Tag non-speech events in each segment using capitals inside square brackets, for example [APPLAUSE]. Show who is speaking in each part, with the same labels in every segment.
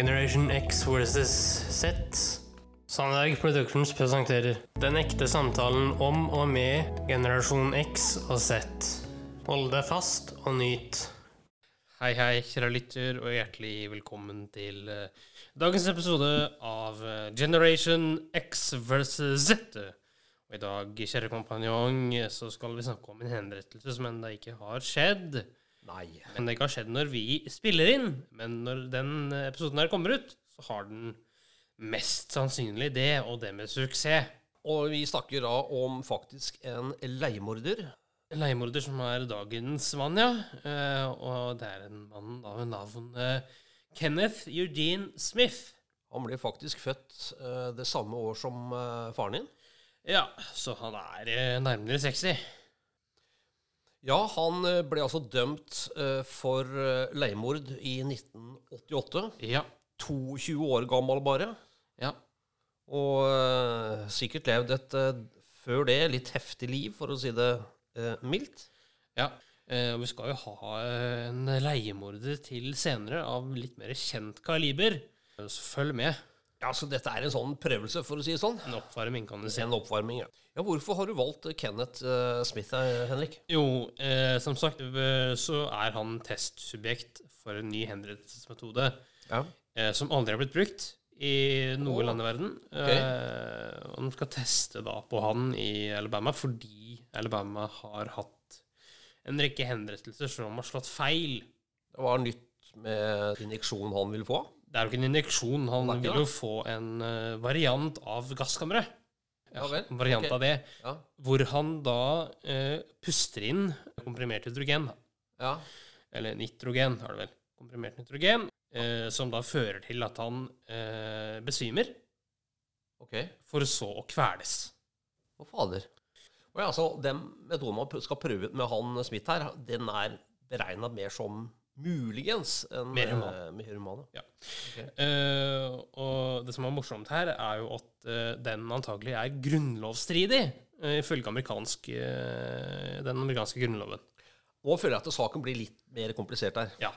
Speaker 1: Generation X versus Z. Sandberg Productions presenterer Den ekte samtalen om og med generasjon X og Z. Hold deg fast og nyt. Hei, hei, kjære lytter, og hjertelig velkommen til eh, dagens episode av eh, Generation X versus Z. Og i dag, kjære kompanjong, så skal vi snakke om en henrettelse som ennå ikke har skjedd.
Speaker 2: Nei.
Speaker 1: Men det ikke har skjedd når vi spiller inn. Men når den episoden her kommer ut, så har den mest sannsynlig det, og det med suksess.
Speaker 2: Og vi snakker da om faktisk en leiemorder.
Speaker 1: Leiemorder som er dagens mann, ja. Eh, og det er en mann av navn eh, Kenneth Eugene Smith.
Speaker 2: Han ble faktisk født eh, det samme år som eh, faren din.
Speaker 1: Ja, så han er eh, nærmere 60.
Speaker 2: Ja, han eh, ble altså dømt eh, for eh, leiemord i 1988.
Speaker 1: Ja.
Speaker 2: 22 år gammel bare.
Speaker 1: Ja.
Speaker 2: Og eh, sikkert levd et eh, før det litt heftig liv, for å si det eh, mildt.
Speaker 1: ja. Eh, og vi skal jo ha eh, en leiemorder til senere, av litt mer kjent kaliber. Eh, Så følg med.
Speaker 2: Ja, Så dette er en sånn prøvelse, for å si det sånn.
Speaker 1: En oppvarming kan du si.
Speaker 2: En oppvarming. Ja, ja Hvorfor har du valgt eh, Kenneth eh, Smith, eh, Henrik?
Speaker 1: Jo, eh, som sagt eh, så er han testsubjekt for en ny henrettelsesmetode
Speaker 2: Ja.
Speaker 1: eh, som aldri har blitt brukt i noe
Speaker 2: Å,
Speaker 1: land i verden.
Speaker 2: ok.
Speaker 1: Eh, og de skal teste da på han i Alabama fordi Alabama har hatt en rekke henrettelser som har slått feil.
Speaker 2: Det var nytt med injeksjon han ville få.
Speaker 1: Det er jo ikke en injeksjon. Han
Speaker 2: Det er ikke
Speaker 1: vil jo få en eh, variant av gasskammeret.
Speaker 2: Ja vel,
Speaker 1: en variant
Speaker 2: ok.
Speaker 1: av det.
Speaker 2: Ja.
Speaker 1: Hvor han da eh, puster inn komprimert hydrogen. Da.
Speaker 2: ja.
Speaker 1: eller nitrogen, har det vel, komprimert nitrogen, eh, som da fører til at han eh, besvimer,
Speaker 2: Ok.
Speaker 1: for så å kveles.
Speaker 2: Å, fader. Og ja, så Den metoden man pr- skal prøve ut med han Smith her, den er beregna mer som muligens en
Speaker 1: Mer human.
Speaker 2: eh, mer human, ja.
Speaker 1: Eh, og det som er morsomt her, er jo at eh, den antagelig er grunnlovsstridig, eh, ifølge amerikansk, eh, den amerikanske grunnloven.
Speaker 2: Nå føler jeg at saken blir litt mer komplisert her.
Speaker 1: Ja.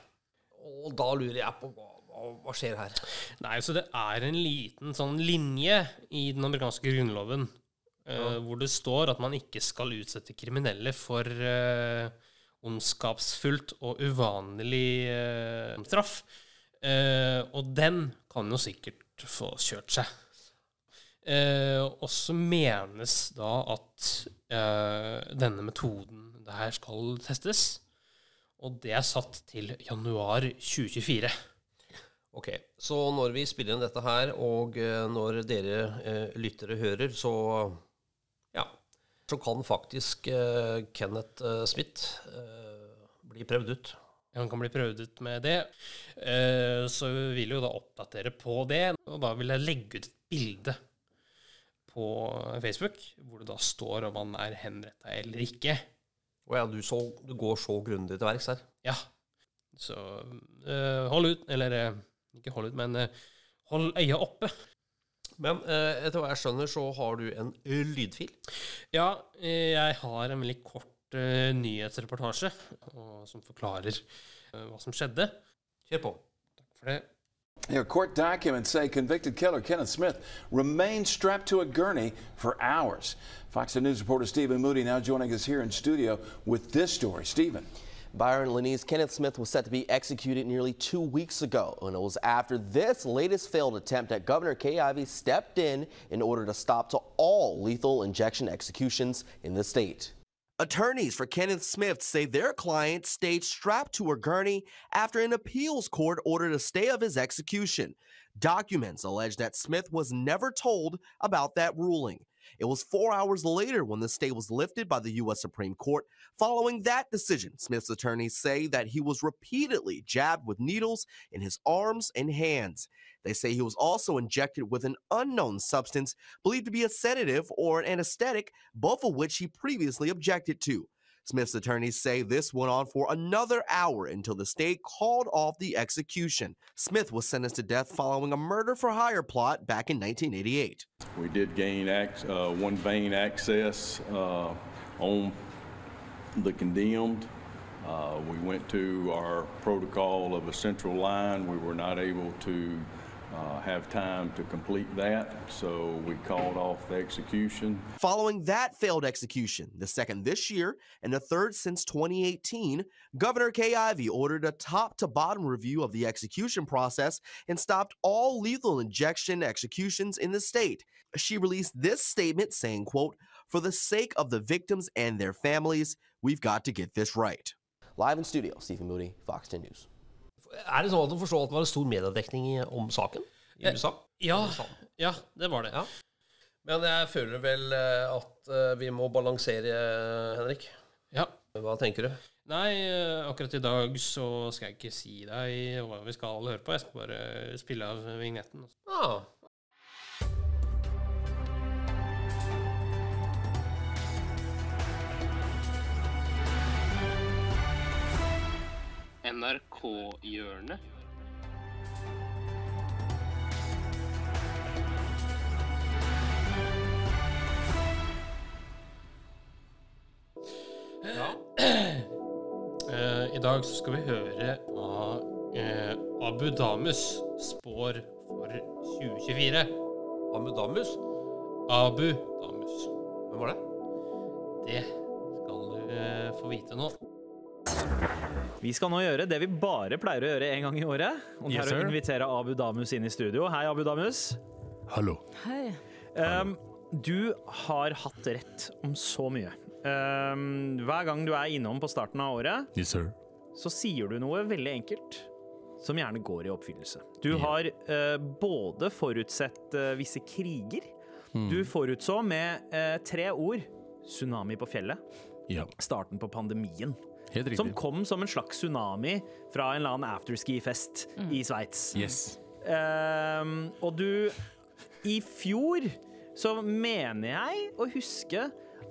Speaker 2: Og da lurer jeg på hva, hva, hva skjer her.
Speaker 1: Nei, så det er en liten sånn linje i den amerikanske grunnloven eh,
Speaker 2: Ja.
Speaker 1: hvor det står at man ikke skal utsette kriminelle for eh, ondskapsfullt og uvanlig eh, straff. Eh, og den kan jo sikkert få kjørt seg. Eh, og så menes da at eh, denne metoden det her skal testes. Og det er satt til januar 2024.
Speaker 2: Ok, Så når vi spiller inn dette her, og eh, når dere eh, lyttere hører, så ja, så kan faktisk eh, Kenneth eh, Smith eh, bli prøvd ut.
Speaker 1: Han kan bli prøvd ut med det. Eh, Så vi vil jo da oppdatere på det. Og da vil jeg legge ut et bilde på Facebook hvor det da står om han er henretta eller ikke.
Speaker 2: Å ja, du, så, du går så grundig til verks her.
Speaker 1: Ja. Så eh, hold ut. Eller eh, ikke hold ut, men eh, hold øya oppe.
Speaker 2: Men eh, etter hva jeg skjønner, så har du en eh, lydfil.
Speaker 1: Ja, eh, jeg har en veldig kort eh, nyhetsreportasje og, som forklarer eh, hva som skjedde.
Speaker 2: Kjør på.
Speaker 1: For det
Speaker 3: You know, court documents say convicted killer Kenneth Smith remained strapped to a gurney for hours. Fox 10 News reporter Stephen Moody now joining us here in studio with this story. Stephen.
Speaker 4: Byron Lanise Kenneth Smith was set to be executed nearly two weeks ago, and it was after this latest failed attempt that Governor Kay Ivey stepped in in order to stop to all lethal injection executions in the state. Attorneys for Kenneth Smith say their client stayed strapped to a gurney after an appeals court ordered a stay of his execution. Documents allege that Smith was never told about that ruling. It was four hours later when the stay was lifted by the U.S. Supreme Court. Following that decision, Smith's attorneys say that he was repeatedly jabbed with needles in his arms and hands. They say he was also injected with an unknown substance believed to be a sedative or an anesthetic, both of which he previously objected to. Smith's attorneys say this went on for another hour until the state called off the execution. Smith was sentenced to death following a murder for hire plot back in 1988.
Speaker 5: We did gain ac- uh, one vein access uh, on the condemned. Uh, We went to our protocol of a central line. We were not able to uh, have time to complete that, so we called off the execution.
Speaker 4: Following that failed execution, the second this year and the third since 2018, Governor Kay Ivey ordered a top to bottom review of the execution process and stopped all lethal injection executions in the state. She released this statement saying, quote, "For the sake of the victims and their families, we've got to get this right." Live in studio, Stephen Moody, Fox 10 News.
Speaker 2: Er det sånn at du forstår at det var en stor mediedekning i- om saken i USA?
Speaker 1: Ja, ja, det var det.
Speaker 2: Ja. Men jeg føler vel eh, at eh, vi må balansere, Henrik.
Speaker 1: Ja.
Speaker 2: Hva tenker du?
Speaker 1: Nei, eh, akkurat i dag så skal jeg ikke si deg hva vi skal høre på. Jeg skal bare spille av vignetten. altså.
Speaker 2: Ah,
Speaker 1: NRK-hjørnet. Eh, I dag så skal vi høre hva eh, Abu Damus spår for 2024.
Speaker 2: Amudamus?
Speaker 1: Abu Damus.
Speaker 2: Hvem var det?
Speaker 1: Det skal du eh, få vite nå.
Speaker 6: Vi skal nå gjøre det vi bare pleier å gjøre en gang i året. Og det er
Speaker 7: Yes,
Speaker 6: å
Speaker 7: sir.
Speaker 6: invitere Abu Damus inn i studio. Hei, Abu Damus.
Speaker 7: Hallo.
Speaker 8: Hei.
Speaker 6: Um, du har hatt rett om så mye. Um, hver gang du er innom på starten av året,
Speaker 7: Yes, sir.
Speaker 6: så sier du noe veldig enkelt som gjerne går i oppfyllelse. Du har eh, både forutsett eh, visse kriger. Du
Speaker 7: Hmm.
Speaker 6: forutså med eh, tre ord tsunami på fjellet,
Speaker 7: Ja,
Speaker 6: starten på pandemien.
Speaker 7: helt riktig.
Speaker 6: Som kom som en slags tsunami fra en eller annen afterski-fest
Speaker 7: Mm.
Speaker 6: i Sveits.
Speaker 7: Yes.
Speaker 6: Ehm, og du I fjor så mener jeg å huske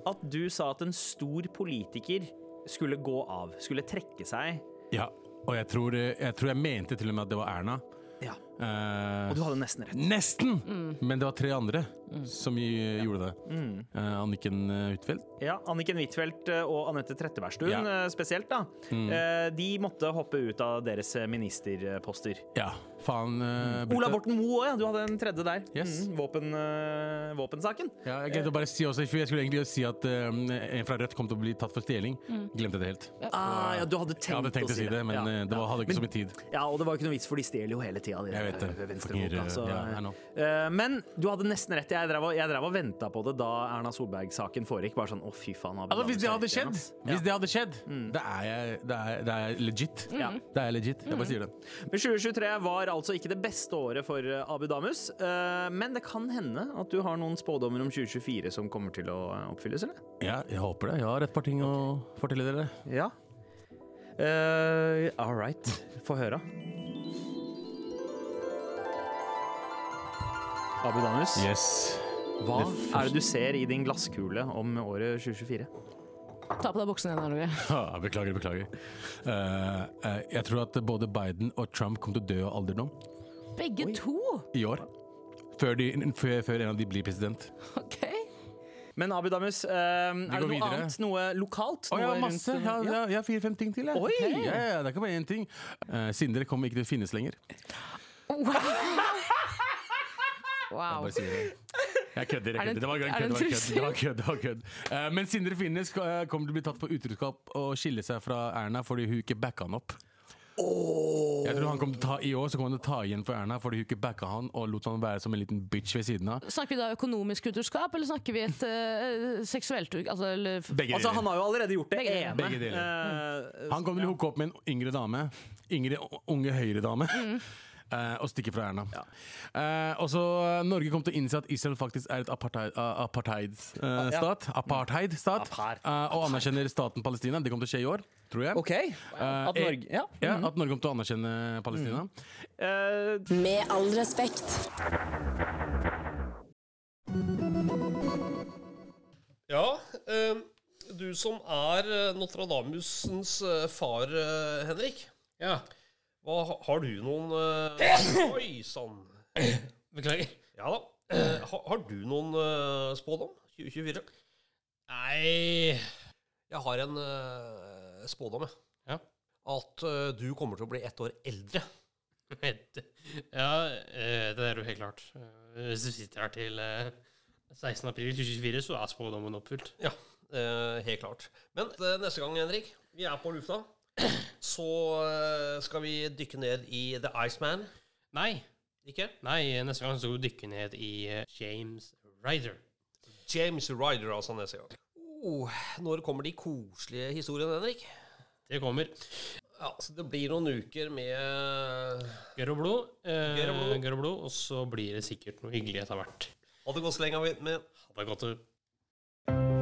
Speaker 6: at du sa at en stor politiker skulle gå av, skulle trekke seg.
Speaker 7: Ja, og jeg tror, eh, jeg tror jeg mente til og med at det var Erna.
Speaker 6: Ja.
Speaker 7: Eh,
Speaker 6: Og du Mm. hadde nesten rett.
Speaker 7: Nesten! Men det var tre andre som i- gjorde det.
Speaker 6: Mm.
Speaker 7: Eh, Anniken eh, Huitfeldt.
Speaker 6: Ja, Anniken Huitfeldt eh, og Anette Trettebergstuen
Speaker 7: Ja. Mm.
Speaker 6: eh, spesielt, da. Eh, de måtte hoppe ut av deres eh, ministerposter.
Speaker 7: Ja, faen. eh, Brita.
Speaker 6: Ola Borten Moe òg, ja. Du hadde en tredje der.
Speaker 7: Yes.
Speaker 6: Mm, våpen, eh, våpensaken.
Speaker 7: Ja, jeg glemte å bare si også, for jeg skulle egentlig si at eh, en fra Rødt kom til å bli tatt for stjeling. Glemte det helt.
Speaker 6: Ah, Mm. ja, du hadde tenkt,
Speaker 7: Jeg hadde tenkt å si det, men
Speaker 6: Ja.
Speaker 7: eh, det var, hadde ikke
Speaker 6: Men- Eh,
Speaker 7: så mye tid.
Speaker 6: Ja, og det var jo ikke noe vits, for de stjeler jo hele tida.
Speaker 7: Jeg vet det. Fucking,
Speaker 6: så,
Speaker 7: ja, I know.
Speaker 6: eh, men du hadde nesten rett. Jeg drev og, jeg drev og venta på det da Erna Solberg-saken foregikk. Bare sånn, å fy faen Abu
Speaker 7: Altså, hvis
Speaker 6: Damus
Speaker 7: det
Speaker 6: er
Speaker 7: hadde
Speaker 6: rett igjen,
Speaker 7: skjedd,
Speaker 6: ass.
Speaker 7: hvis det hadde skjedd,
Speaker 6: Mm.
Speaker 7: da er jeg, da er, da er jeg legit. Da er jeg legit.
Speaker 6: Mm.
Speaker 7: Jeg bare sier det.
Speaker 6: Men 2023 var altså ikke det beste året for eh, Abu Damus. eh, men det kan hende at du har noen spådommer om 2024 som kommer til å eh, oppfylles, eller?
Speaker 7: Ja, jeg håper det. Jeg har et par ting å fortelle dere.
Speaker 6: Ja. Uh, all right. Få høre. Abu Damus.
Speaker 7: Yes. [LAUGHS]
Speaker 6: Hva er det du ser i din glasskule om året 2024?
Speaker 8: Ta på deg buksene igjen, Norge.
Speaker 7: Ah, beklager, beklager. Eh, eh, jeg tror at både Biden og Trump kommer til å dø av alderdom
Speaker 8: Begge to!
Speaker 7: i år. Før, de, før, før en av de blir president.
Speaker 8: OK.
Speaker 6: Men Abu Damus, eh, er det
Speaker 7: går
Speaker 6: noe
Speaker 7: videre.
Speaker 6: annet? Noe lokalt?
Speaker 7: Å,
Speaker 6: Noe
Speaker 7: jeg har
Speaker 6: rundt-
Speaker 7: masse. Jeg har, jeg har- jeg har fire-fem ting til. Jeg.
Speaker 6: Oi!
Speaker 7: Ja, ja, ja, det er ikke bare én ting. Eh, Sindre kommer ikke til å finnes lenger.
Speaker 8: Wow.
Speaker 7: Bare sier det. Jeg kødder. jeg
Speaker 8: Er det-
Speaker 7: kødder. Det var
Speaker 8: er det en
Speaker 7: kødd. Det var kødd.
Speaker 8: trussel?
Speaker 7: Det var kødd, det var kødd. Eh, Men Sindre Finnes eh, kommer til å bli tatt for utroskap og skille seg fra Erna fordi hun ikke backa han opp. Jeg tror han kommer til å ta I år så kommer han til å ta igjen for Erna fordi hun ikke backa han og lot han være som en liten bitch ved siden av.
Speaker 8: Snakker vi da økonomisk utroskap, eller snakker vi et eh, seksuelt ut- altså, eller, f-
Speaker 7: Begge
Speaker 6: Altså, han
Speaker 7: deler.
Speaker 6: har jo allerede gjort det
Speaker 8: Begge deler.
Speaker 6: ene.
Speaker 7: Begge
Speaker 6: Eh,
Speaker 7: Han kommer til å hooke opp med en yngre dame. Yngre, unge høyre dame.
Speaker 6: Mm.
Speaker 7: [LAUGHS] eh, Og stikke fra Erna. Eh, og så eh, Norge kommer til å innse at Israel faktisk er et apartheid- eh, apartheidstat. eh, stat. Apartheidstat.
Speaker 6: Apart-
Speaker 7: eh, og anerkjenner staten Palestina. Det kommer til å skje i år, tror jeg.
Speaker 6: OK.
Speaker 7: Eh,
Speaker 6: At Norge Mm. Ja.
Speaker 7: Ja, At Norge kommer til å anerkjenne Palestina.
Speaker 6: Eh,
Speaker 9: Med all respekt.
Speaker 2: Ja, eh, du som er eh, Nostradamusens eh, far, eh, Henrik.
Speaker 1: Ja,
Speaker 2: Hva, har du noen eh, Oi sann.
Speaker 1: beklager. [LAUGHS]
Speaker 2: Ja da. Eh, ha, har du noen eh, spådom 2024?
Speaker 1: Nei
Speaker 2: Jeg har en eh, spådom, jeg.
Speaker 1: Ja.
Speaker 2: at eh, du kommer til å bli ett år eldre.
Speaker 1: Et- Ja, eh, det er jo helt klart. Eh, Hvis du sitter her til eh, 16. april 2024, så er spådommen oppfylt.
Speaker 2: Ja, eh, helt klart. Men eh, neste gang, Henrik, vi er på lufta, så eh, skal vi dykke ned i The Iceman.
Speaker 1: Nei,
Speaker 2: Ikke?
Speaker 1: nei, neste gang så skal vi dykke ned i eh, James Ryder.
Speaker 2: James Ryder, altså, neste gang. Oh, når kommer de koselige historiene, Henrik?
Speaker 1: Det kommer.
Speaker 2: Ja, så Det blir noen uker med
Speaker 1: Gørr og blod. eh,
Speaker 2: Gørr og blod.
Speaker 1: Gørr og blod, og så blir det sikkert noe hyggelig etter hvert.
Speaker 2: Ha det godt så lenge. Med.
Speaker 1: Ha det godt. du.